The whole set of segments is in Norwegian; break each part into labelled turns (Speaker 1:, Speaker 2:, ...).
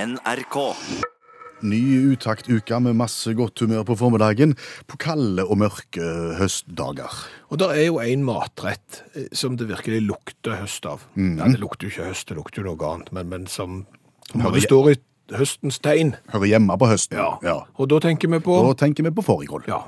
Speaker 1: NRK.
Speaker 2: Ny utaktuke med masse godt humør på formiddagen på kalde og mørke høstdager.
Speaker 3: Og det er jo en matrett eh, som det virkelig lukter høst av.
Speaker 2: Mhm.
Speaker 3: Ja, det lukter jo ikke høst, det lukter jo noe annet, men, men som, som
Speaker 2: Hører
Speaker 3: bare
Speaker 2: hje-
Speaker 3: står i høstens tegn.
Speaker 2: Hører hjemme på høsten.
Speaker 3: Og da tenker vi på
Speaker 2: Da tenker vi på fårikål.
Speaker 3: Ja,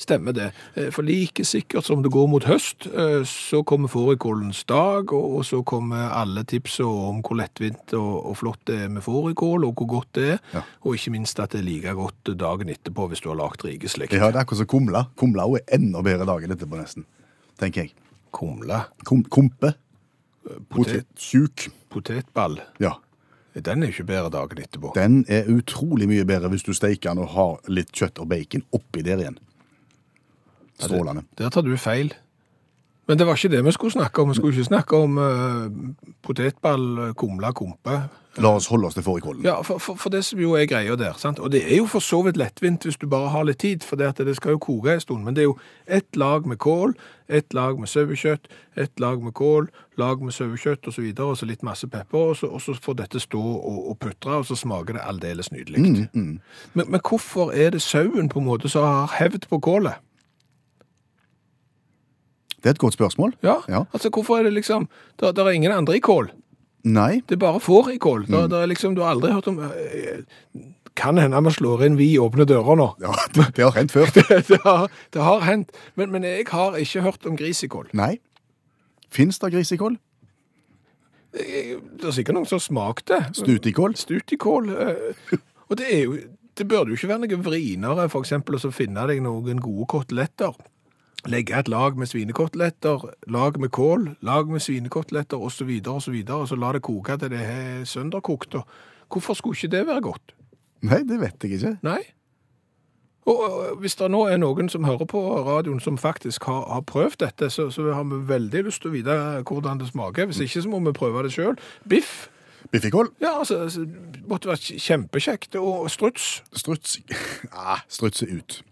Speaker 3: stemmer det. Eh, For like sikkert som det går mot høst, eh, så kommer fårikålens dag, og og så kommer alle tipsene om hvor lettvint og og flott det er med fårikål, og hvor godt det er,
Speaker 2: Ja.
Speaker 3: og ikke minst at det er like godt dagen etterpå hvis du har lagt rike slikt.
Speaker 2: Ja, det er akkurat som kumla. Kumla er også enda bedre dagen etterpå, nesten. Tenker jeg.
Speaker 3: Kumle,
Speaker 2: Kom, kompe.
Speaker 3: potet,
Speaker 2: Potetsjuk.
Speaker 3: potetball,
Speaker 2: Ja.
Speaker 3: den er jo ikke bedre dagen etterpå.
Speaker 2: Den er utrolig mye bedre hvis du steiker den og har litt kjøtt og bacon oppi der igjen. Strålende.
Speaker 3: Der tar du feil. Men det var ikke det vi skulle snakke om. Vi skulle ikke snakke om eh, potetball, kumle, kompe,
Speaker 2: La oss holde oss til fårikålen.
Speaker 3: Ja, for, for, for det som jo er greia der, sant? og det er jo for så vidt lettvint hvis du bare har litt tid, for det, at det skal jo koke en stund, men det er jo ett lag med kål, ett lag med sauekjøtt, ett lag med kål, lag med sauekjøtt og så videre, og så litt masse pepper, og så, og så får dette stå og, og putre, og så smaker det aldeles nydelig. Men, men hvorfor er det sauen på en måte som har hevd på kålet?
Speaker 2: Det er et godt spørsmål.
Speaker 3: Ja,
Speaker 2: Ja.
Speaker 3: altså hvorfor er det liksom, der, der er ingen andre i kål.
Speaker 2: Nei.
Speaker 3: Det er bare får i kål. Der, der er liksom, du har aldri hørt om... eh, Kan hende man slår inn vi åpne dører nå.
Speaker 2: Ja, det, det har rent før.
Speaker 3: det, har, det har hendt, men, men jeg har ikke hørt om grisekål.
Speaker 2: Nei. Fins det grisekål?
Speaker 3: Jeg- Det er sikkert noen som smakte.
Speaker 2: Stutikål?
Speaker 3: Stutikål. eh, Og det er jo det burde jo ikke være noen vrinere, for eksempel, og så finne deg noen gode koteletter. Legge et lag med svinekoteletter, lag med kål, lag med svinekoteletter, og så videre, og så videre, og så la det koke til det er sønderkokt. og Hvorfor skulle ikke det være godt?
Speaker 2: Nei, det vet jeg ikke.
Speaker 3: Nei. Og, og hvis det nå er noen som hører på radioen som faktisk har, har prøvd dette, så, så har vi veldig lyst til å vite hvordan det smaker. Hvis ikke så må vi prøve det sjøl. Biff.
Speaker 2: Biffikål?
Speaker 3: Ja, altså, altså, måtte vært kjempekjekt. Og struts.
Speaker 2: Struts ah, Struts er ut.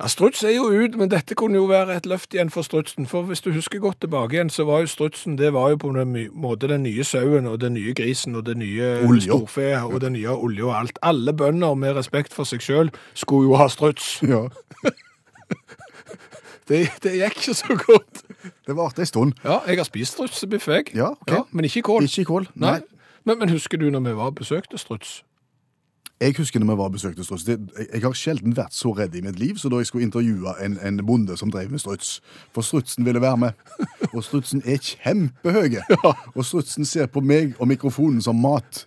Speaker 3: Ja, Struts er jo ut, men dette kunne jo være et løft igjen for strutsen. For hvis du husker godt tilbake igjen, så var jo strutsen det var jo på en my- måte den nye sauen og den nye grisen og den nye
Speaker 2: Olja.
Speaker 3: storfe og den nye olja og alt. Alle bønder med respekt for seg sjøl skulle jo ha struts.
Speaker 2: Ja.
Speaker 3: Det, det gikk ikke så godt.
Speaker 2: Det varte ei stund.
Speaker 3: Ja, jeg har spist strutsebiff, jeg.
Speaker 2: Ja, ok.
Speaker 3: men ikke kål.
Speaker 2: Ikke kål.
Speaker 3: Nei.
Speaker 2: Nei.
Speaker 3: Men, men husker du når vi var og besøkte struts?
Speaker 2: Jeg husker når vi var og besøkte struts. Det, jeg, jeg har sjelden vært så redd i mitt liv, så da jeg skulle intervjue en, en bonde som drev med struts. For strutsen ville være med. Og strutsen er kjempehøye. Og strutsen ser på meg og mikrofonen som mat.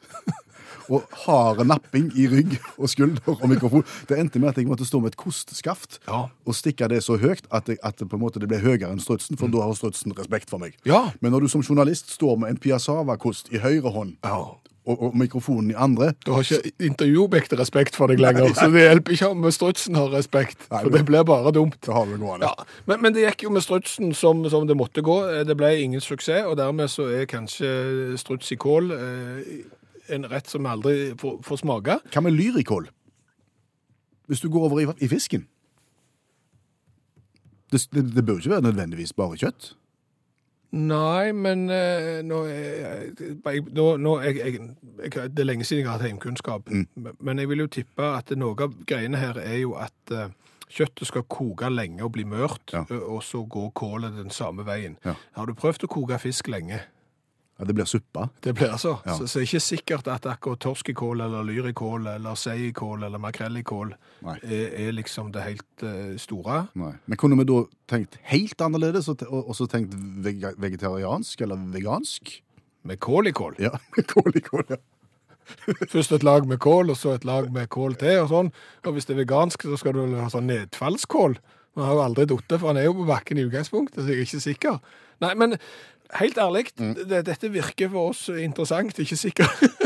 Speaker 2: Og harde napping i rygg og skulder og mikrofon. Det endte med at jeg måtte stå med et kosteskaft
Speaker 3: Ja.
Speaker 2: og stikke det så høyt at, jeg, at det på en måte det ble høyere enn strutsen,
Speaker 3: Mm.
Speaker 2: for da har strutsen respekt for meg.
Speaker 3: Ja.
Speaker 2: Men når du som journalist står med en piassava-kost i høyre hånd og, og mikrofonen i andre
Speaker 3: Du har ikke intervjuobjektet respekt for deg lenger, så det hjelper ikke om strutsen har respekt,
Speaker 2: Nei,
Speaker 3: for
Speaker 2: men-
Speaker 3: det blir bare dumt.
Speaker 2: så har du noe annet.
Speaker 3: Ja, men, men det gikk jo med strutsen som, som det måtte gå. Eh, Det ble ingen suksess, og dermed så er kanskje struts i kål eh, en rett som vi aldri får, får smake.
Speaker 2: Hva med lyrikål? Hvis du går over i, i fisken? Det, det, det bør jo ikke være nødvendigvis bare kjøtt.
Speaker 3: Nei, men eh, nå, er jeg, jeg, nå, nå er jeg, jeg, jeg Det er lenge siden jeg har hatt heimkunnskap,
Speaker 2: Mm.
Speaker 3: men- men jeg vil jo tippe at noe av greiene her er jo at eh, kjøttet skal koke lenge og bli mørt,
Speaker 2: Ja.
Speaker 3: ø- og så går kålet den samme veien.
Speaker 2: Ja.
Speaker 3: Har du prøvd å koke fisk lenge?
Speaker 2: Ja, det blir suppe.
Speaker 3: Det blir altså.
Speaker 2: Ja.
Speaker 3: Så, så det er ikke sikkert at akkurat torskekål eller lyrikål eller seikål eller makrellikål
Speaker 2: Nei.
Speaker 3: er, er liksom det helt eh, store.
Speaker 2: Nei. Men kunne vi da tenkt helt annerledes, og, te- og og så tenkt vega, vegetariansk eller vegansk?
Speaker 3: Med kålikål.
Speaker 2: Ja, kål i kål, ja.
Speaker 3: Først et lag med kål, og så et lag med kål til, og sånn. Og hvis det er vegansk, så skal du vel ha sånn nedfallskål. Man har jo aldri datt, for han er jo på bakken i utgangspunktet, så jeg er ikke sikker. Nei, men helt ærlig, det, dette virker for oss interessant, ikke sikker.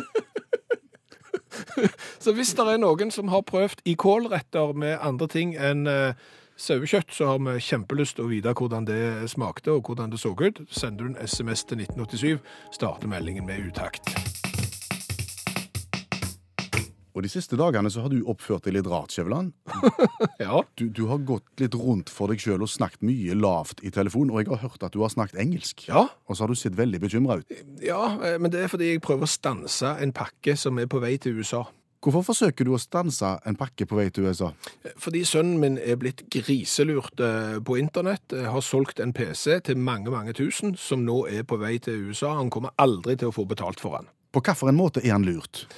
Speaker 3: så hvis det er noen som har prøvd i kålretter med andre ting enn eh, sauekjøtt, så har vi kjempelyst til å vite hvordan det smakte, og hvordan det så ut. Sender du en SMS til 1987, starter meldingen med utakt.
Speaker 2: Og de siste dagene så har du oppført deg litt rart, Skjæveland.
Speaker 3: Ja.
Speaker 2: Du, du har gått litt rundt for deg sjøl og snakket mye lavt i telefon, og jeg har hørt at du har snakket engelsk.
Speaker 3: Ja.
Speaker 2: Og så har du sett veldig bekymra ut.
Speaker 3: Ja, eh, men det er fordi jeg prøver å stanse en pakke som er på vei til USA.
Speaker 2: Hvorfor forsøker du å stanse en pakke på vei til USA?
Speaker 3: Eh, Fordi sønnen min er blitt griselurt eh, på internett, eh, har solgt en PC til mange, mange tusen, som nå er på vei til USA. Han kommer aldri til å få betalt for han.
Speaker 2: På hvilken måte er han lurt?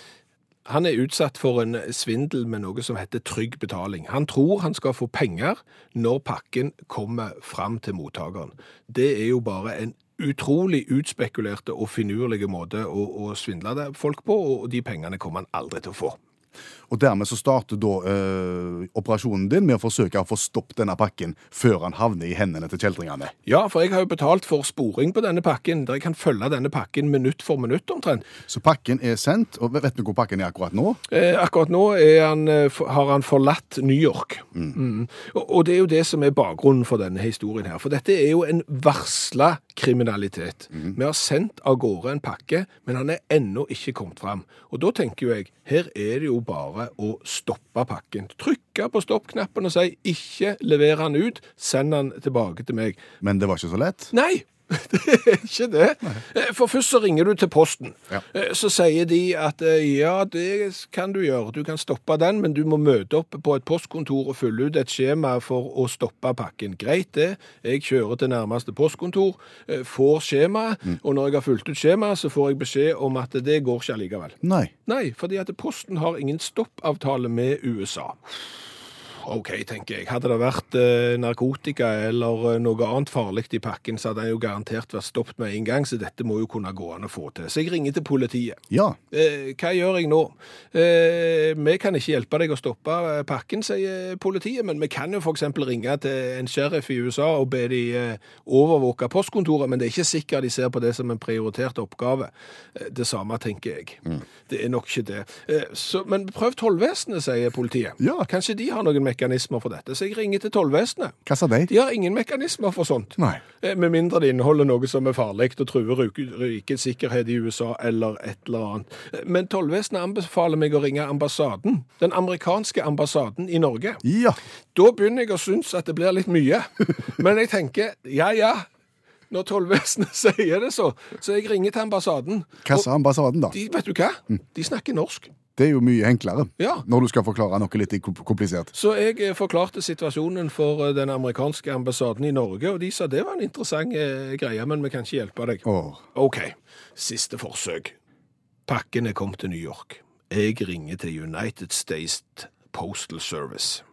Speaker 3: Han er utsatt for en svindel med noe som heter trygg betaling. Han tror han skal få penger når pakken kommer fram til mottakeren. Det er jo bare en utrolig utspekulerte og finurlige måte å, å svindle det- folk på, og de pengene kommer han aldri til å få.
Speaker 2: Og dermed så starter da eh, operasjonen din med å forsøke å få stoppet denne pakken før han havner i hendene til kjeltringene.
Speaker 3: Ja, for jeg har jo betalt for sporing på denne pakken, der jeg kan følge denne pakken minutt for minutt omtrent.
Speaker 2: Så pakken er sendt, og vet du hvor pakken er akkurat nå?
Speaker 3: Eh, akkurat nå er han, eh, for- har han forlatt New York. Mm. Og, og det er jo det som er bakgrunnen for denne historien her. For dette er jo en varsla kriminalitet. Vi har sendt av gårde en pakke, men han er ennå ikke kommet fram. Og da tenker jo jeg, her er det jo bare å stoppe pakken. Trykke på stoppknappen og si 'ikke lever han ut', send han tilbake til meg.
Speaker 2: Men det var ikke så lett.
Speaker 3: Nei, det er ikke det. Eh, For først så ringer du til posten.
Speaker 2: Ja.
Speaker 3: Eh, Så sier de at eh, ja, det kan du gjøre, du kan stoppe den, men du må møte opp på et postkontor og fylle ut et skjema for å stoppe pakken. Greit det, jeg kjører til nærmeste postkontor, eh, får skjemaet, og når jeg har fulgt ut skjemaet, så får jeg beskjed om at det går ikke allikevel.
Speaker 2: Nei.
Speaker 3: Nei, fordi at posten har ingen stoppavtale med USA. OK, tenker jeg. Hadde det vært eh, narkotika eller eh, noe annet farlig i pakken, så hadde den jo garantert vært stoppet med en gang, så dette må jo kunne gå an å få til. Så jeg ringer til politiet.
Speaker 2: Ja.
Speaker 3: Eh, hva gjør jeg nå? Eh, vi kan ikke hjelpe deg å stoppe eh, pakken, sier politiet, men vi kan jo f.eks. ringe til en sheriff i USA og be de eh, overvåke postkontoret, men det er ikke sikkert de ser på det som en prioritert oppgave. Eh, det samme tenker jeg. Det er nok ikke det. Eh, så, men prøv tollvesenet, sier politiet.
Speaker 2: Ja.
Speaker 3: Kanskje de har noen mekanismer for dette, så jeg ringer til tollvesenet.
Speaker 2: Hva sa de?
Speaker 3: De har ingen mekanismer for sånt.
Speaker 2: Nei.
Speaker 3: Eh, Med mindre det inneholder noe som er farlig og truer ruke- rikets sikkerhet i USA eller et eller annet. Eh, Men tollvesenet anbefaler meg å ringe ambassaden, den amerikanske ambassaden i Norge.
Speaker 2: Ja.
Speaker 3: Da begynner jeg å synes at det blir litt mye. Men jeg tenker, ja ja, når tollvesenet sier det så, så jeg ringer til ambassaden.
Speaker 2: Hva sa ambassaden, da?
Speaker 3: De, vet du hva? De snakker norsk.
Speaker 2: Det er jo mye enklere
Speaker 3: Ja.
Speaker 2: når du skal forklare noe litt kom- komplisert.
Speaker 3: Så jeg eh, forklarte situasjonen for eh, den amerikanske ambassaden i Norge, og de sa det var en interessant eh, greie, men vi kan ikke hjelpe deg.
Speaker 2: Åh.
Speaker 3: Ok, siste forsøk. Pakken er kommet til New York. Jeg ringer til United States Postal Service.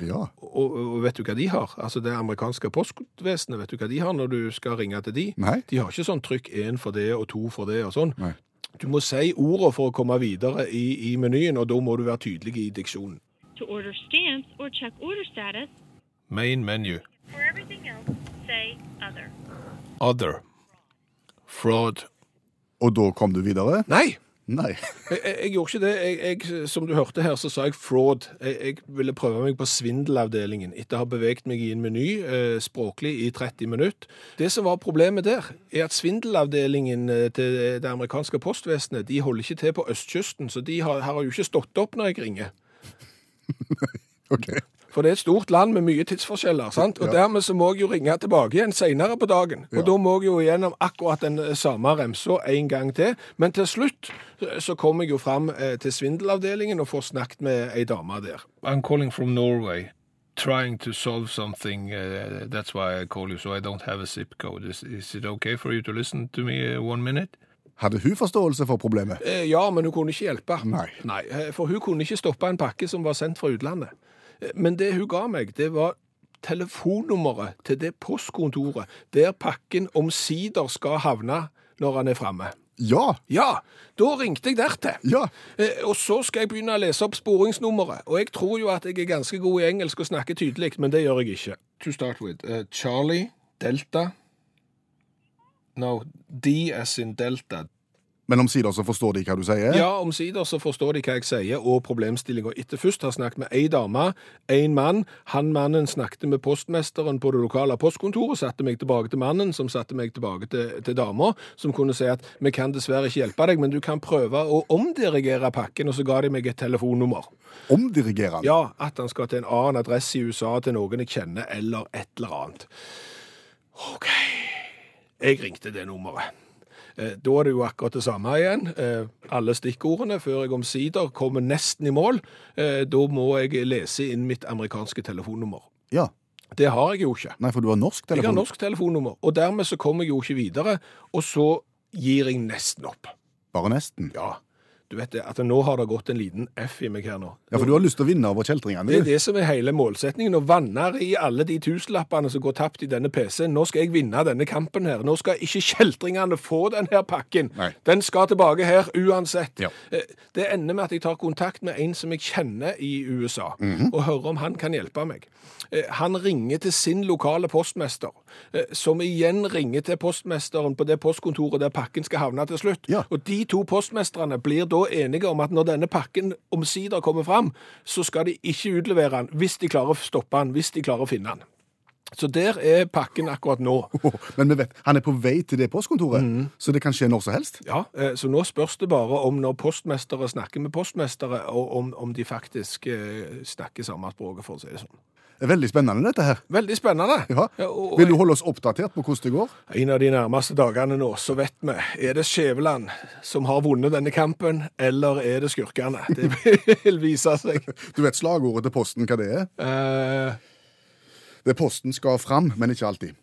Speaker 2: Ja.
Speaker 3: Og, og vet du hva de har? Altså Det amerikanske postvesenet, vet du hva de har når du skal ringe til de?
Speaker 2: Nei.
Speaker 3: De har ikke sånn trykk én for det og to for det og sånn.
Speaker 2: Nei.
Speaker 3: Du må si ordene for å komme videre i, i menyen, og da må du være tydelig i diksjonen.
Speaker 1: To order stamps or check order status,
Speaker 3: Main menu.
Speaker 1: for everything else, say other.
Speaker 3: Other. Fraud.
Speaker 2: Og da kom du videre?
Speaker 3: Nei!
Speaker 2: Nei.
Speaker 3: Jeg, jeg, jeg gjorde ikke det. Jeg, jeg, som du hørte her, så sa jeg fraud. Jeg, jeg ville prøve meg på svindelavdelingen etter å ha beveget meg i en meny eh, språklig i 30 minutter. Det som var problemet der, er at svindelavdelingen eh, til det amerikanske postvesenet de holder ikke til på østkysten, så de har, her har jo ikke stått opp når jeg ringer.
Speaker 2: Ok.
Speaker 3: For det er et stort land med mye tidsforskjeller, sant? og dermed så må jeg jo ringe tilbake igjen senere på dagen. Og da må jeg jo gjennom akkurat den eh, samme remsa en gang til. Men til slutt eh, så kom jeg jo fram eh, til svindelavdelingen og får snakket med ei dame der. I'm calling from Norway. Trying to solve something, eh, that's why I call you, so I don't have a zip code. Is, it okay for you to listen to me eh, one minute?
Speaker 2: Hadde hun forståelse for problemet?
Speaker 3: Eh, Ja, men hun kunne ikke hjelpe.
Speaker 2: Nei.
Speaker 3: eh, For hun kunne ikke stoppe en pakke som var sendt fra utlandet. Eh, Men det hun ga meg, det var telefonnummeret til det postkontoret der pakken omsider skal havne når han er framme.
Speaker 2: Ja.
Speaker 3: Ja, da ringte jeg dertil.
Speaker 2: Ja.
Speaker 3: Eh, Og så skal jeg begynne å lese opp sporingsnummeret. Og jeg tror jo at jeg er ganske god i engelsk og snakker tydelig, men det gjør jeg ikke. To start with, eh, Charlie, Delta No, D as in Delta.
Speaker 2: Men omsider så forstår de hva du sier?
Speaker 3: Ja, omsider så forstår de hva jeg sier og problemstillinga etter. Først har jeg snakket med ei dame, én mann. Han mannen snakket med postmesteren på det lokale postkontoret, satte meg tilbake til mannen, som satte meg tilbake til, til dama, som kunne si at vi kan dessverre ikke hjelpe deg, men du kan prøve å omdirigere pakken, og så ga de meg et telefonnummer.
Speaker 2: Omdirigerer han?
Speaker 3: Ja, at han skal til en annen adresse i USA, til noen jeg kjenner, eller et eller annet. OK. Jeg ringte det nummeret. Eh, Da er det jo akkurat det samme igjen. Eh, Alle stikkordene før jeg omsider kommer nesten i mål. eh, Da må jeg lese inn mitt amerikanske telefonnummer.
Speaker 2: Ja.
Speaker 3: Det har jeg jo ikke.
Speaker 2: Nei, for du har norsk
Speaker 3: Jeg har
Speaker 2: telefon?
Speaker 3: norsk telefonnummer, og dermed så kommer jeg jo ikke videre. Og så gir jeg nesten opp.
Speaker 2: Bare nesten.
Speaker 3: Ja, du vet det, at nå har det gått en liten F i meg her nå.
Speaker 2: Ja, for du har lyst til å vinne over kjeltringene?
Speaker 3: Det er
Speaker 2: du.
Speaker 3: det som er hele målsetningen, å vanne i alle de tusenlappene som går tapt i denne PC-en. Nå skal jeg vinne denne kampen her. Nå skal ikke kjeltringene få denne pakken.
Speaker 2: Nei.
Speaker 3: Den skal tilbake her uansett.
Speaker 2: Ja.
Speaker 3: Eh, Det ender med at jeg tar kontakt med en som jeg kjenner i USA, og hører om han kan hjelpe meg. Eh, Han ringer til sin lokale postmester, eh, som igjen ringer til postmesteren på det postkontoret der pakken skal havne til slutt.
Speaker 2: Ja.
Speaker 3: Og de to postmesterne blir da enige om at når denne pakken omsider kommer fram, så skal de ikke utlevere den hvis de klarer å stoppe den, hvis de klarer å finne den. Så der er pakken akkurat nå.
Speaker 2: Men vi vet, han er på vei til det postkontoret,
Speaker 3: Mm.
Speaker 2: så det kan skje når som helst.
Speaker 3: Ja, eh, så nå spørs det bare om når postmestere snakker med postmestere, og om, om de faktisk eh, snakker samme språket, for å si det sånn.
Speaker 2: Det er veldig spennende, dette her.
Speaker 3: Veldig spennende.
Speaker 2: Ja.
Speaker 3: og,
Speaker 2: Vil du holde oss oppdatert på hvordan det går?
Speaker 3: En av de nærmeste dagene nå, så vet vi, er det Skjæveland som har vunnet denne kampen, eller er det skurkene? Det vil vise seg.
Speaker 2: Du vet slagordet til Posten hva det er?
Speaker 3: Eh,
Speaker 2: Det er Posten skal fram, men ikke alltid.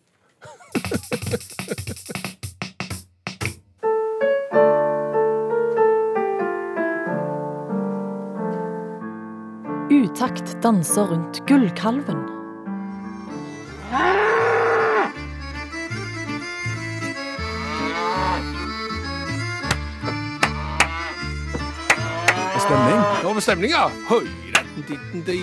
Speaker 4: Utakt danser rundt gullkalven.
Speaker 2: Stemning?
Speaker 3: Nå er det stemning, ja. Høy, retten, ditten, di,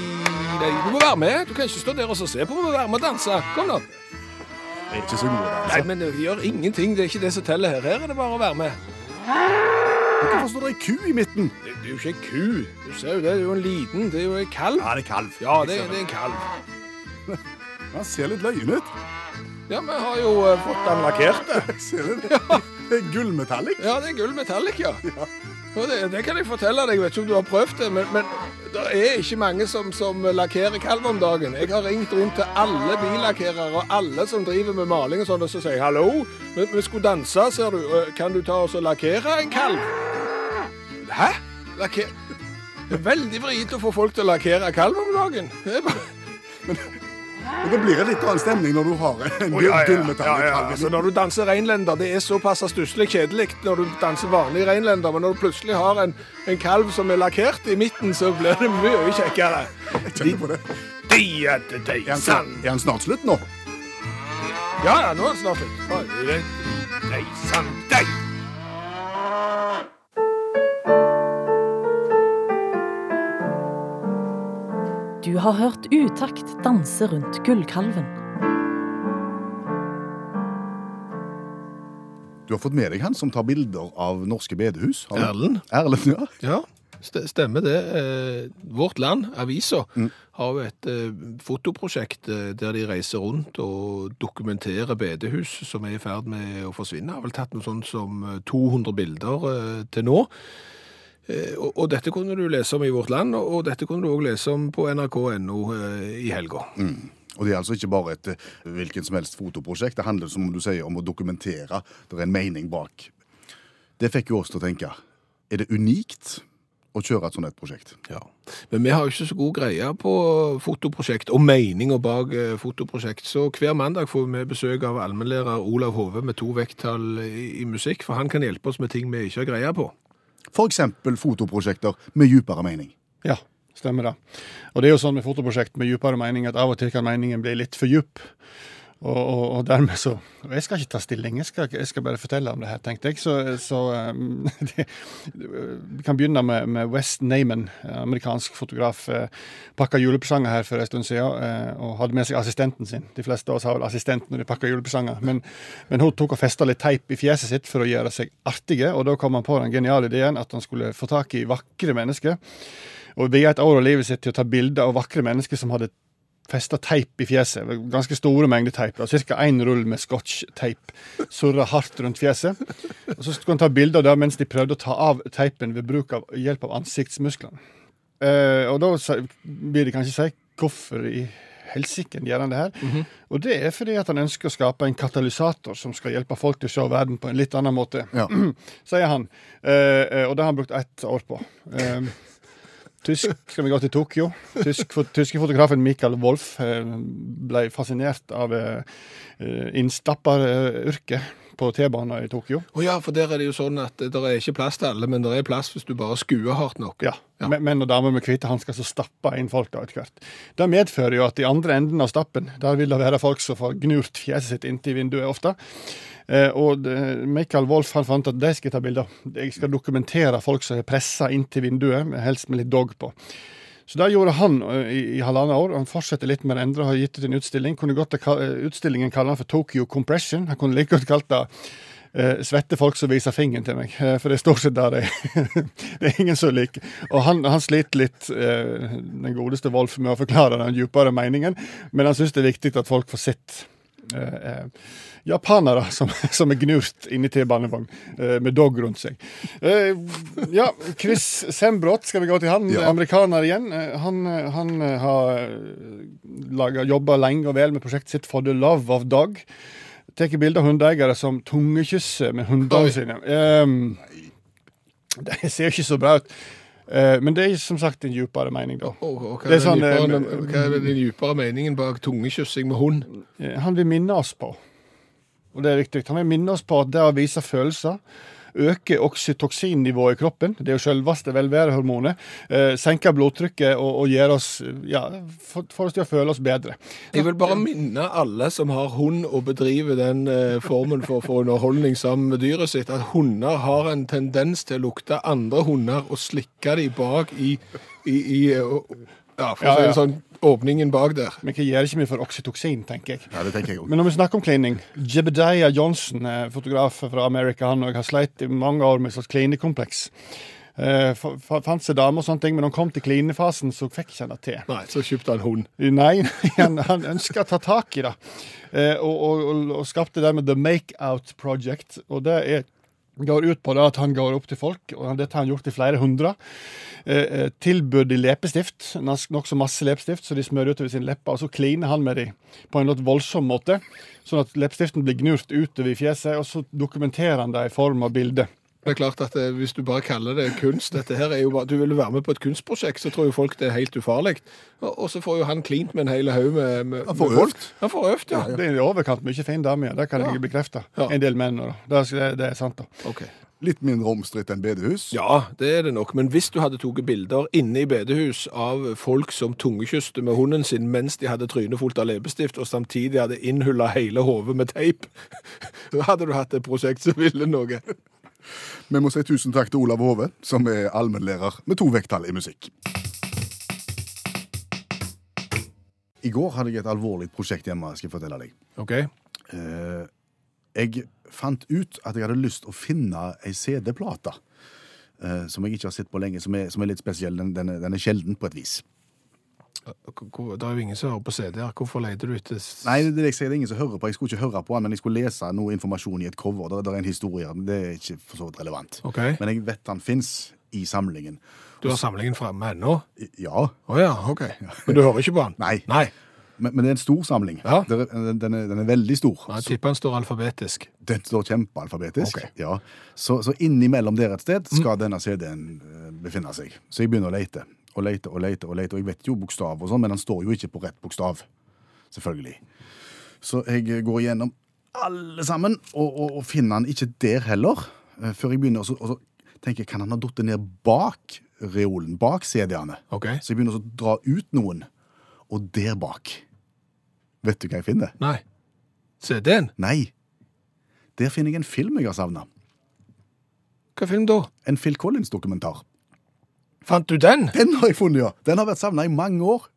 Speaker 3: di. Du må være med. Du kan ikke stå der og så se på. Du må være med og danse. Kom nå.
Speaker 2: Jeg er ikke så god. altså.
Speaker 3: Nei, men det gjør ingenting. Det er ikke det som teller her. Her er det bare å være med.
Speaker 2: Hvorfor står det ei ku i midten?
Speaker 3: Det det er jo ikke en ku. Du ser jo det. Det er jo en liten. Det er jo en kalv.
Speaker 2: Ja, det er kalv.
Speaker 3: Ja, liksom. det, det er en kalv.
Speaker 2: Han ser litt løyen ut.
Speaker 3: Ja, vi har jo eh, fått den lakkert.
Speaker 2: Jeg ser det. Det er gullmetallic.
Speaker 3: Ja, det er gull metallic, ja. Og det, det kan jeg fortelle deg. Jeg vet ikke om du har prøvd det, men, men det er ikke mange som, som lakkerer kalv om dagen. Jeg har ringt rundt til alle billakkerere og alle som driver med maling og sånn, og så sier jeg hallo, vi, vi skulle danse, ser du. Eh, Kan du ta oss og lakkere en kalv? Hæ? Lakker... Det er veldig vrient å få folk til å lakkere kalv om dagen. Det er bare...
Speaker 2: Og det blir en litt annen stemning når du har en
Speaker 3: Å,
Speaker 2: gull-
Speaker 3: ja, ja, ja,
Speaker 2: gullmetallic
Speaker 3: ja.
Speaker 2: kalv.
Speaker 3: Altså, når du danser reinlender, det er såpass stusslig kjedelig når du danser vanlig reinlender, men når du plutselig har en, en kalv som er lakkert i midten, så blir det mye kjekkere.
Speaker 2: Jeg kjenner på det.
Speaker 3: De er det de
Speaker 2: Er han, snart,
Speaker 3: sann.
Speaker 2: er han snart slutt nå?
Speaker 3: Ja, ja, nå er det snart slutt. De er det de sann, de.
Speaker 4: Du har hørt Utakt danse rundt gullkalven.
Speaker 2: Du har fått med deg han som tar bilder av norske bedehus. har du?
Speaker 3: Erlend.
Speaker 2: Erlend, ja.
Speaker 3: Ja, st- stemmer det. Eh, Vårt Land, avisa, har jo et eh, fotoprosjekt eh, der de reiser rundt og dokumenterer bedehus som er i ferd med å forsvinne. Har vel tatt noe sånt som eh, 200 bilder eh, til nå. Eh, Og, og dette kunne du lese om i Vårt Land, og, og dette kunne du òg lese om på nrk.no eh, i helga.
Speaker 2: Og det er altså ikke bare et eh, hvilken som helst fotoprosjekt. Det handler som du sier, om å dokumentere. Det er en mening bak. Det fikk jo oss til å tenke. Er det unikt å kjøre et sånt et prosjekt?
Speaker 3: Ja. Men vi har jo ikke så god greie på fotoprosjekt og meninger bak eh, fotoprosjekt, så hver mandag får vi besøk av allmennlærer Olav Hove med to vekttall i, i musikk, for han kan hjelpe oss med ting vi ikke har greie på.
Speaker 2: For eksempel fotoprosjekter med djupere mening.
Speaker 5: Ja, stemmer det. Og det er jo sånn med fotoprosjekt med dypere mening at av og til kan meningen bli litt for dyp. Og, og, og dermed så og Jeg skal ikke ta stilling, jeg skal, jeg skal bare fortelle om det her, tenkte jeg. Så, så um, det, vi kan begynne med, med West Naiman, amerikansk fotograf. eh, Pakka julepresanger her for en stund siden eh, og hadde med seg assistenten sin. De fleste av oss har vel assistent når de pakker julepresanger. Men, men hun tok og festa litt teip i fjeset sitt for å gjøre seg artige, og da kom han på den geniale ideen at han skulle få tak i vakre mennesker. Og vie et år av livet sitt til å ta bilder av vakre mennesker som hadde festa teip i fjeset. Ganske store mengder teip. da, Cirka én rull med scotch-teip surra hardt rundt fjeset. Og Så skulle han ta bilder av det mens de prøvde å ta av teipen ved bruk av hjelp av ansiktsmusklene. Eh, og da sa- blir det kanskje si hvorfor i helsike gjør han det her? Og det er fordi at han ønsker å skape en katalysator som skal hjelpe folk til å se verden på en litt annen måte,
Speaker 2: Ja.
Speaker 5: sier han. Eh, eh, og det har han brukt ett år på. Eh, Tysk skal vi gå til Tokyo. Tysk, for, tyske fotografen Michael Wolff eh, ble fascinert av eh, eh, innstapperyrket på T-banen i Tokyo.
Speaker 3: Å ja, for der er det jo sånn at det er ikke plass til alle, men det er plass hvis du bare skuer hardt nok.
Speaker 5: Ja. Men- Menn og damer med hvite hansker som stapper inn folk da etter hvert. Det medfører jo at i andre enden av stappen der vil det være folk som får gnurt fjeset sitt inntil vinduet ofte. Eh, og det- Michael Wolff han fant at de skal jeg ta bilder. Jeg skal dokumentere folk som er pressa inntil vinduet, helst med litt dog på. Så det gjorde han eh, i, i halvannet år. Han fortsetter litt med å endre og har gitt ut en utstilling. Kunne godt ha kall- eh, utstillingen kalle han for Tokyo Compression. Han kunne like godt kalt det eh, Svette folk som viser fingeren til meg. Eh, for det er stort sett der det er. det er ingen som liker. Og han, han sliter litt, eh, den godeste Wolf, med å forklare den dypere meningen, men han syns det er viktig at folk får sett. eh, eh, japanere som, som er gnurt inni T-banevogn eh, med dog rundt seg. Eh, ja, Chris Sembrot, skal vi gå til han?
Speaker 2: Ja.
Speaker 5: Amerikaner igjen. Eh, han, han eh, har eh, laget, jobba lenge og vel med prosjektet sitt For the love of dog tar bilder av hundeeiere som tungekysser med
Speaker 3: Oi.
Speaker 5: hundene sine. Ehm, det ser jo ikke så bra ut. Eh, men det er som sagt en dypere mening, da.
Speaker 3: Å, og hva,
Speaker 5: Det er
Speaker 3: er den
Speaker 5: sånn,
Speaker 3: dypere,
Speaker 5: eh,
Speaker 3: hva er den dypere meningen bak tungekyssing med hund?
Speaker 5: Eh, Han vil minne oss på, og det er viktig, han vil minne oss på at det å vise følelser øker oksytoksinnivået i kroppen, det er jo selveste velværehormonet, eh, senker blodtrykket og, og gjør oss, ja, får får oss til å føle oss bedre.
Speaker 3: Jeg vil bare minne alle som har hund og bedriver den eh, formen for å få underholdning sammen med dyret sitt, at hunder har en tendens til å lukte andre hunder og slikke de bak i, i, i eh, og- ja, for å
Speaker 5: Ja,
Speaker 3: si
Speaker 5: ja.
Speaker 3: det sånn, åpningen bak der.
Speaker 5: Men hva gjør ikke vi for oksytoksin, tenker jeg.
Speaker 2: Ja, det tenker jeg òg.
Speaker 5: Men når vi snakker om klining Jebediah Johnson, eh, fotograf fra Amerika, han også har sleit i mange år med et slags klinekompleks. Eh, fa- fa- fant seg dame og sånne ting, men når han kom til klinefasen, så fikk ikke han det til.
Speaker 3: Nei, så kjøpte han hund.
Speaker 5: Nei, han, han ønska å ta tak i det, eh, og, og, og, og skapte dermed The Makeout Project. Og det er, går ut på det at han går opp til folk, og dette har han gjort i flere hundre. Eh, eh, tilbud i leppestift, nokså masse leppestift, så de smører utover sine lepper, og så kliner han med de på en litt voldsom måte, sånn at leppestiften blir gnurt utover i fjeset, og så dokumenterer han det i form av bilde.
Speaker 3: Det er klart at eh, Hvis du bare kaller det kunst dette her er jo bare, Du vil være med på et kunstprosjekt, så tror jo folk det er helt ufarlig. Og, og så får jo han klint med en hel haug med, med
Speaker 2: Han får
Speaker 3: med folk.
Speaker 2: øvt.
Speaker 3: Han får øvd, ja.
Speaker 5: Det er i overkant mye fin dame, ja. Det kan jeg bekrefte.
Speaker 3: Ja.
Speaker 5: En del menn, og da. Det, det er sant, da.
Speaker 3: Ok.
Speaker 2: Litt mindre omstridt enn bedehus.
Speaker 3: Ja, det er det nok. Men hvis du hadde tatt bilder inne i bedehus av folk som tungekyste med hunden sin mens de hadde trynet fullt av leppestift, og samtidig hadde innhulla hele hodet med teip, så hadde du hatt et prosjekt som ville noe.
Speaker 2: Vi må si tusen takk til Olav Hove, som er allmennlærer med to vekttall i musikk. I går hadde jeg et alvorlig prosjekt hjemme. skal jeg fortelle deg.
Speaker 3: OK.
Speaker 2: Eh, Jeg fant ut at jeg hadde lyst å finne ei CD-plate eh, som jeg ikke har sett på lenge, som er, som er litt spesiell. Den, den, er, den er sjelden på et vis.
Speaker 3: Det er jo ingen som hører på CD-er. Hvorfor leter du etter s-
Speaker 2: Nei, det er det jeg sier, det er ingen som hører på. Jeg skulle ikke høre på den, men jeg skulle lese noe informasjon i et cover. Det, det er en historie, men det er ikke for så vidt relevant.
Speaker 3: OK.
Speaker 2: Men jeg vet han fins i samlingen.
Speaker 3: Du har samlingen framme ennå?
Speaker 2: I- Ja,
Speaker 3: Å ja, OK. Men du hører ikke på den?
Speaker 2: Nei.
Speaker 3: Nei.
Speaker 2: men, men det er en stor samling.
Speaker 3: Ja.
Speaker 2: Det er- Den, den, er, den er veldig stor.
Speaker 3: Jeg tipper den står alfabetisk.
Speaker 2: Den står kjempealfabetisk.
Speaker 3: Ok. Mm.
Speaker 2: Ja. Så, så innimellom der et sted skal denne CD-en eh, befinne seg. Så jeg begynner å lete og lete og lete. Og lete, og jeg vet jo bokstav, og sånn, men den står jo ikke på rett bokstav. Selvfølgelig. Så jeg eh, går gjennom alle sammen, og, og, og finner han ikke der heller. eh, Før jeg begynner, og så, og så tenker jeg, kan han ha datt ned bak reolen, bak CD-ene?
Speaker 3: OK?
Speaker 2: Så jeg begynner å dra ut noen, og der bak Vet du hva jeg finner?
Speaker 3: Nei. CD-en?
Speaker 2: Nei. Der finner jeg en film jeg har savna.
Speaker 3: Hva film da?
Speaker 2: En Phil Collins-dokumentar.
Speaker 3: Fant du den?
Speaker 2: Den har jeg funnet, ja! Den har vært savna i mange år.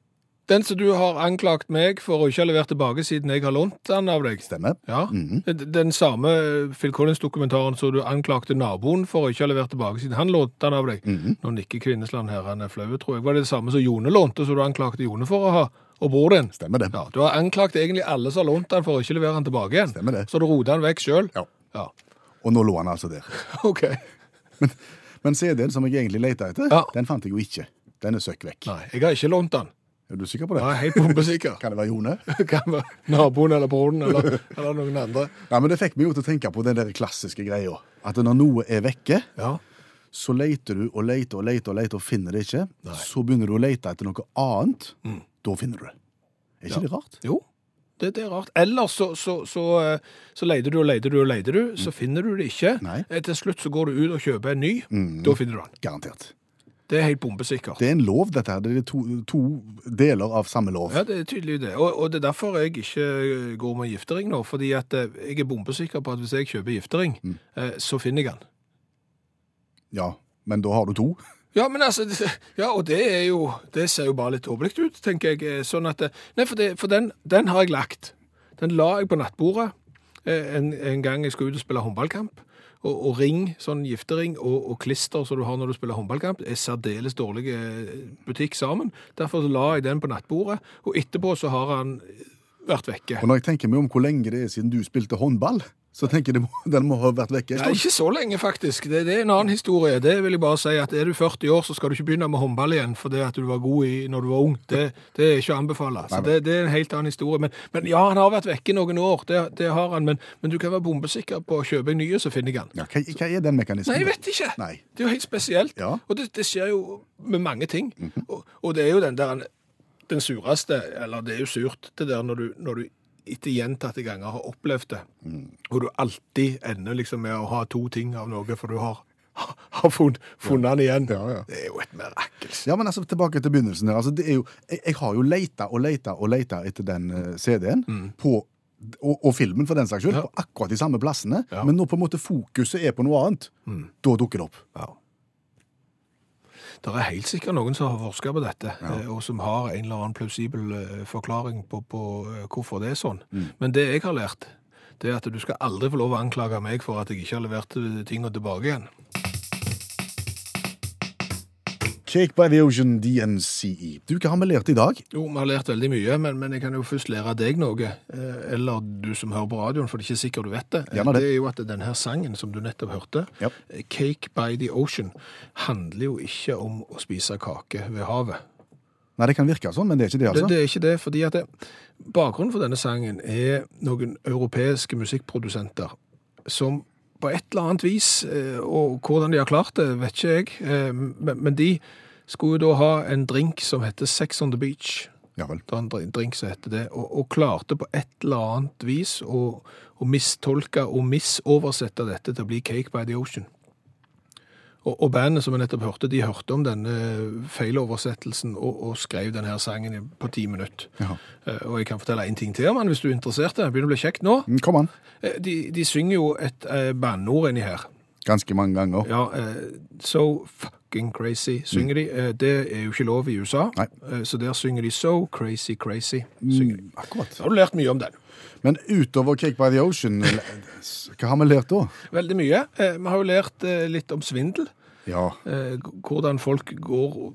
Speaker 3: Den som du har anklagt meg for å ikke ha levert tilbake siden jeg har lånt den av deg?
Speaker 2: Stemmer.
Speaker 3: Ja,
Speaker 2: Mhm.
Speaker 3: Den- Den samme eh, Phil Collins-dokumentaren som du anklagte naboen for å ikke ha levert tilbake siden han lånte den av deg.
Speaker 2: Mhm.
Speaker 3: Nå nikker Kvinnesland her, han er flau, tror jeg. Var det det samme som Jone lånte, som du anklagte Jone for å ha, og bror din?
Speaker 2: Stemmer det.
Speaker 3: Ja, Du har anklagt egentlig alle som har lånt den for å ikke levere den tilbake igjen.
Speaker 2: Stemmer det.
Speaker 3: Så du rotet den vekk sjøl?
Speaker 2: Ja. Og nå lå han altså der.
Speaker 3: OK.
Speaker 2: Men CD-en som jeg egentlig leita etter,
Speaker 3: Ja.
Speaker 2: den fant jeg jo ikke. Den er søkk vekk.
Speaker 3: Nei, jeg har ikke lånt den.
Speaker 2: Er du sikker på det?
Speaker 3: Jeg er helt bombesikker.
Speaker 2: Kan det være Jone?
Speaker 3: Kan være naboen eller broren eller, eller noen andre.
Speaker 2: Ja, men Det fikk meg jo til å tenke på den der klassiske greia. At når noe er vekke,
Speaker 3: Ja.
Speaker 2: så leter du og leter og leter og leter og finner det ikke. Så begynner du å lete etter noe annet.
Speaker 3: Mm.
Speaker 2: Da finner du det. Er ikke det rart?
Speaker 3: Jo, det, det er rart. Ellers så, så, så, eh, så leter du og leter du og leter du, så finner du det ikke.
Speaker 2: Mm. Nei.
Speaker 3: Eh, Til slutt så går du ut og kjøper en ny, da finner du den.
Speaker 2: Garantert.
Speaker 3: Det er helt bombesikkert.
Speaker 2: Det er en lov, dette her. Det er to, to deler av samme lov.
Speaker 3: Ja, det er tydelig det. Og, og det er derfor jeg ikke eh, går med giftering nå, fordi at eh, jeg er bombesikker på at hvis jeg kjøper giftering,
Speaker 2: Mm.
Speaker 3: eh, så finner jeg den.
Speaker 2: Ja, men da har du to.
Speaker 3: Ja, men altså, det- ja, og det er jo, det ser jo bare litt håpløst ut, tenker jeg. eh, Sånn at, eh, nei, for, det, for den, den har jeg lagt. Den la jeg på nattbordet eh, en, en gang jeg skulle ut og spille håndballkamp. Og, og ring, sånn giftering og, og klister som du har når du spiller håndballkamp, er særdeles dårlig eh, butikk sammen. Derfor så la jeg den på nattbordet, og etterpå så har han vært vekke.
Speaker 2: Og når jeg tenker meg om hvor lenge det er siden du spilte håndball, så tenker jeg det må, den må ha vært vekke en
Speaker 3: Nei,
Speaker 2: stund.
Speaker 3: ikke så lenge, faktisk. Det, det er en annen historie. Det vil jeg bare si at Er du 40 år, så skal du ikke begynne med håndball igjen fordi at du var god i, når du var ung. Det, det er ikke å anbefale. Så det, det er en helt annen historie. Men, men ja, han har vært vekke noen år. Det, det har han. Men, men du kan være bombesikker på å kjøpe en ny, så finner jeg han.
Speaker 2: Ja, hva, hva er den mekanismen?
Speaker 3: Nei, jeg vet ikke.
Speaker 2: Nei.
Speaker 3: Det er jo helt spesielt.
Speaker 2: Ja. Mhm.
Speaker 3: Og det, det skjer jo med mange ting. og, og det er jo den der Den sureste Eller det er jo surt, det der når du, når du etter gjentatte ganger har opplevd det,
Speaker 2: Mhm.
Speaker 3: og du alltid ender liksom med å ha to ting av noe, for du har, har funnet, funnet den igjen.
Speaker 2: Ja, ja.
Speaker 3: Det er jo et mirakel.
Speaker 2: Ja, men altså, tilbake til begynnelsen her. Altså, det er jo, jeg, jeg har jo leita og leita og leita etter den eh, CD-en på og, og filmen, for den saks skyld,
Speaker 3: Mm. Ja.
Speaker 2: på akkurat de samme plassene.
Speaker 3: Ja. Mm.
Speaker 2: Men når på en måte fokuset er på noe annet, da dukker det opp.
Speaker 3: Ja. Det er helt sikkert noen som har forska på dette, eh, og som har en eller annen plausibel eh, forklaring på, på eh, hvorfor det er sånn. Men det jeg har lært, det er at du skal aldri få lov å anklage meg for at jeg ikke har levert eh, tingene tilbake igjen.
Speaker 2: Cake by the Ocean, DNCE. E. Du, hva har vi lært i dag?
Speaker 3: Jo, vi har lært veldig mye, men, men jeg kan jo først lære deg noe. eh, Eller du som hører på radioen, for det er ikke sikkert du vet det.
Speaker 2: Gjerne det.
Speaker 3: det er jo at denne her sangen som du nettopp hørte,
Speaker 2: Ja.
Speaker 3: eh, Cake by the Ocean, handler jo ikke om å spise kake ved havet.
Speaker 2: Nei, det kan virke sånn, men det er ikke det, altså.
Speaker 3: Det, det er ikke det, fordi at det, bakgrunnen for denne sangen er noen europeiske musikkprodusenter som på et eller annet vis, eh, og hvordan de har klart det, vet ikke jeg, eh, men, men de skulle jo da ha en drink som heter Sex on the Beach.
Speaker 2: Ja vel.
Speaker 3: Det var en dr- drink som heter det, og, og klarte på et eller annet vis å, å mistolke og misoversette dette til å bli Cake by the Ocean. Og, og bandet som jeg nettopp hørte, de hørte om denne feiloversettelsen og, og skrev denne her sangen i- på ti minutter.
Speaker 2: Ja.
Speaker 3: Eh, Og jeg kan fortelle en ting til om den hvis du er interessert. Det begynner å bli kjekt nå.
Speaker 2: Mm, Kom an.
Speaker 3: Eh, De, de synger jo et eh, bandord inni her.
Speaker 2: Ganske mange ganger.
Speaker 3: Ja, eh, So fucking crazy synger de. Eh, det er jo ikke lov i USA,
Speaker 2: Nei.
Speaker 3: Eh, så der synger de So crazy crazy. Synger. de.
Speaker 2: Mm, akkurat.
Speaker 3: Så har du lært mye om den.
Speaker 2: Men utover Cake by the Ocean, l- hva har vi lært da?
Speaker 3: Veldig mye. Eh, vi har jo lært eh, litt om svindel.
Speaker 2: Ja,
Speaker 3: Eh, g- hvordan folk går og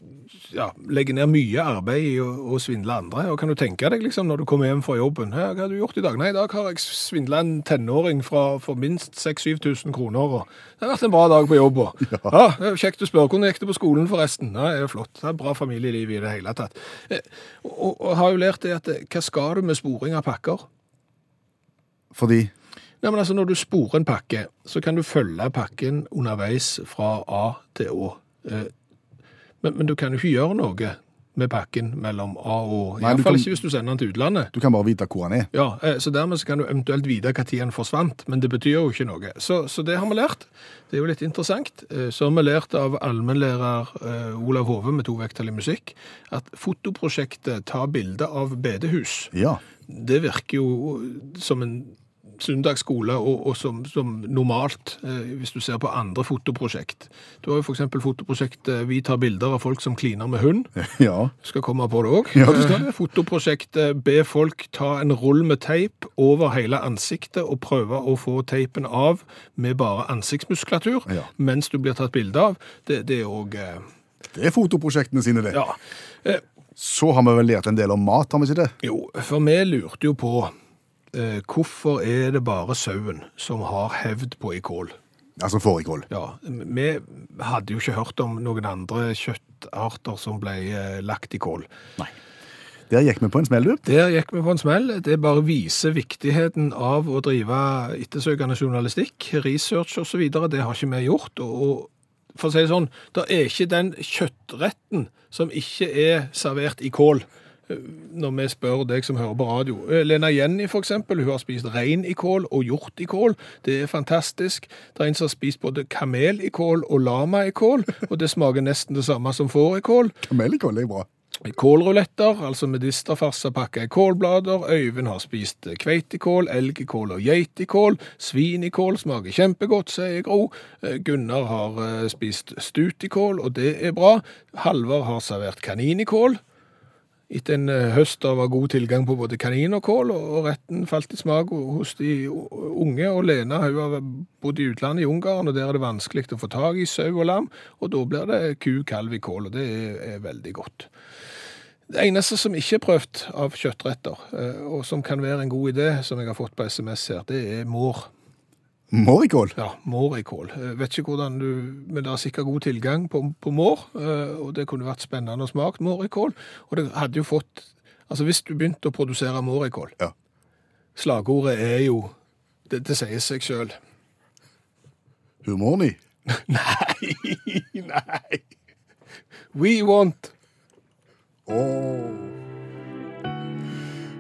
Speaker 3: ja, legger ned mye arbeid i å, å svindle andre. Og kan du tenke deg liksom når du kommer hjem fra jobben «Hæ, Hva har du gjort i dag? Nei, i dag har jeg svindla en tenåring fra, for minst 6000-7000 kroner. Og det har vært en bra dag på jobb. Og. Ja. det er kjekt å spørre hvordan gikk det på skolen, forresten. Ja, det er flott. Det er bra familieliv i det hele tatt. Eh, og, og har jo lært det at eh, hva skal du med sporing av pakker?
Speaker 2: fordi
Speaker 3: Nei, men altså Når du sporer en pakke, så kan du følge pakken underveis fra A til Å. Eh, Men, men du kan jo ikke gjøre noe med pakken mellom A og
Speaker 2: Nei,
Speaker 3: Å.
Speaker 2: du
Speaker 3: Iallfall
Speaker 2: kan-
Speaker 3: ikke hvis du sender den til utlandet.
Speaker 2: du kan bare vite hvor han er.
Speaker 3: Ja, eh, så Dermed så kan du eventuelt vite når den forsvant, men det betyr jo ikke noe. Så, så det har vi lært. Det er jo litt interessant. Eh, Så har vi lært av allmennlærer eh, Olav Hove med to vekttall i musikk at fotoprosjektet Ta bilde av bedehus
Speaker 2: Ja,
Speaker 3: det virker jo som en søndagsskole, og, og som, som normalt, eh, hvis du ser på andre fotoprosjekt. Du har jo f.eks. fotoprosjektet eh, 'Vi tar bilder av folk som kliner med hund'.
Speaker 2: Ja.
Speaker 3: Du skal komme på det òg.
Speaker 2: Ja, du skal
Speaker 3: Fotoprosjektet eh, 'Be folk ta en rull med teip over hele ansiktet' og prøve å få teipen av med bare ansiktsmuskulatur
Speaker 2: Ja.
Speaker 3: mens du blir tatt bilde av. Det, det er òg eh,
Speaker 2: Det er fotoprosjektene sine, det.
Speaker 3: Ja. Eh,
Speaker 2: Så har vi vel lært en del om mat, har vi ikke det?
Speaker 3: Jo, for vi lurte jo på eh, hvorfor er det bare sauen som har hevd på ikål?
Speaker 2: Altså fårikål.
Speaker 3: Ja, vi hadde jo ikke hørt om noen andre kjøttarter som ble eh, lagt i kål.
Speaker 2: Der gikk vi på en smell, du.
Speaker 3: Der gikk vi på en smell. Det bare viser viktigheten av å drive ettersøkende journalistikk, research osv. Det har ikke vi gjort. og... og for å si det sånn, det er ikke den kjøttretten som ikke er servert i kål, eh, når vi spør deg som hører på radio. Eh, Lena Jenny, for eksempel, hun har spist rein i kål og hjort i kål. Det er fantastisk. Det er en som har spist både kamel i kål og lama i kål, og det smaker nesten det samme som får i kål.
Speaker 2: Kamelkål er bra.
Speaker 3: Kålruletter, altså medisterfarsa pakka i kålblader. Øyvind har spist kveitekål, elgkål og geitekål. Svinekål smaker kjempegodt, sier Gro. Eh, Gunnar har eh, spist stutikål, og det er bra. Halvard har servert kaninikål. Etter en eh, høst av god tilgang på både kanin og kål, og og retten falt i smak hos de unge. Og Lena hun har bodd i utlandet, i Ungarn, og der er det vanskelig å få tak i sau og lam. Og da blir det ku, kalv i kål, og det er, er veldig godt. Det eneste som ikke er prøvd av kjøttretter, eh, og som kan være en god idé, som jeg har fått på SMS her, det er mår.
Speaker 2: Mårikål?
Speaker 3: Ja, mår i kål. Eh, Vet ikke hvordan du Men det er sikkert god tilgang på, på mår, eh, og det kunne vært spennende å smake mår i kål. Og det hadde jo fått Altså, hvis du begynte å produsere mår i kål
Speaker 2: Ja.
Speaker 3: Slagordet er jo Det, det sier seg sjøl.
Speaker 2: Humoren i?
Speaker 3: Nei, nei. We want
Speaker 2: Åh.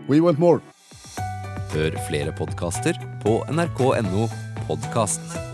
Speaker 2: We want more.
Speaker 6: Hør flere podkaster på nrk.no podkast.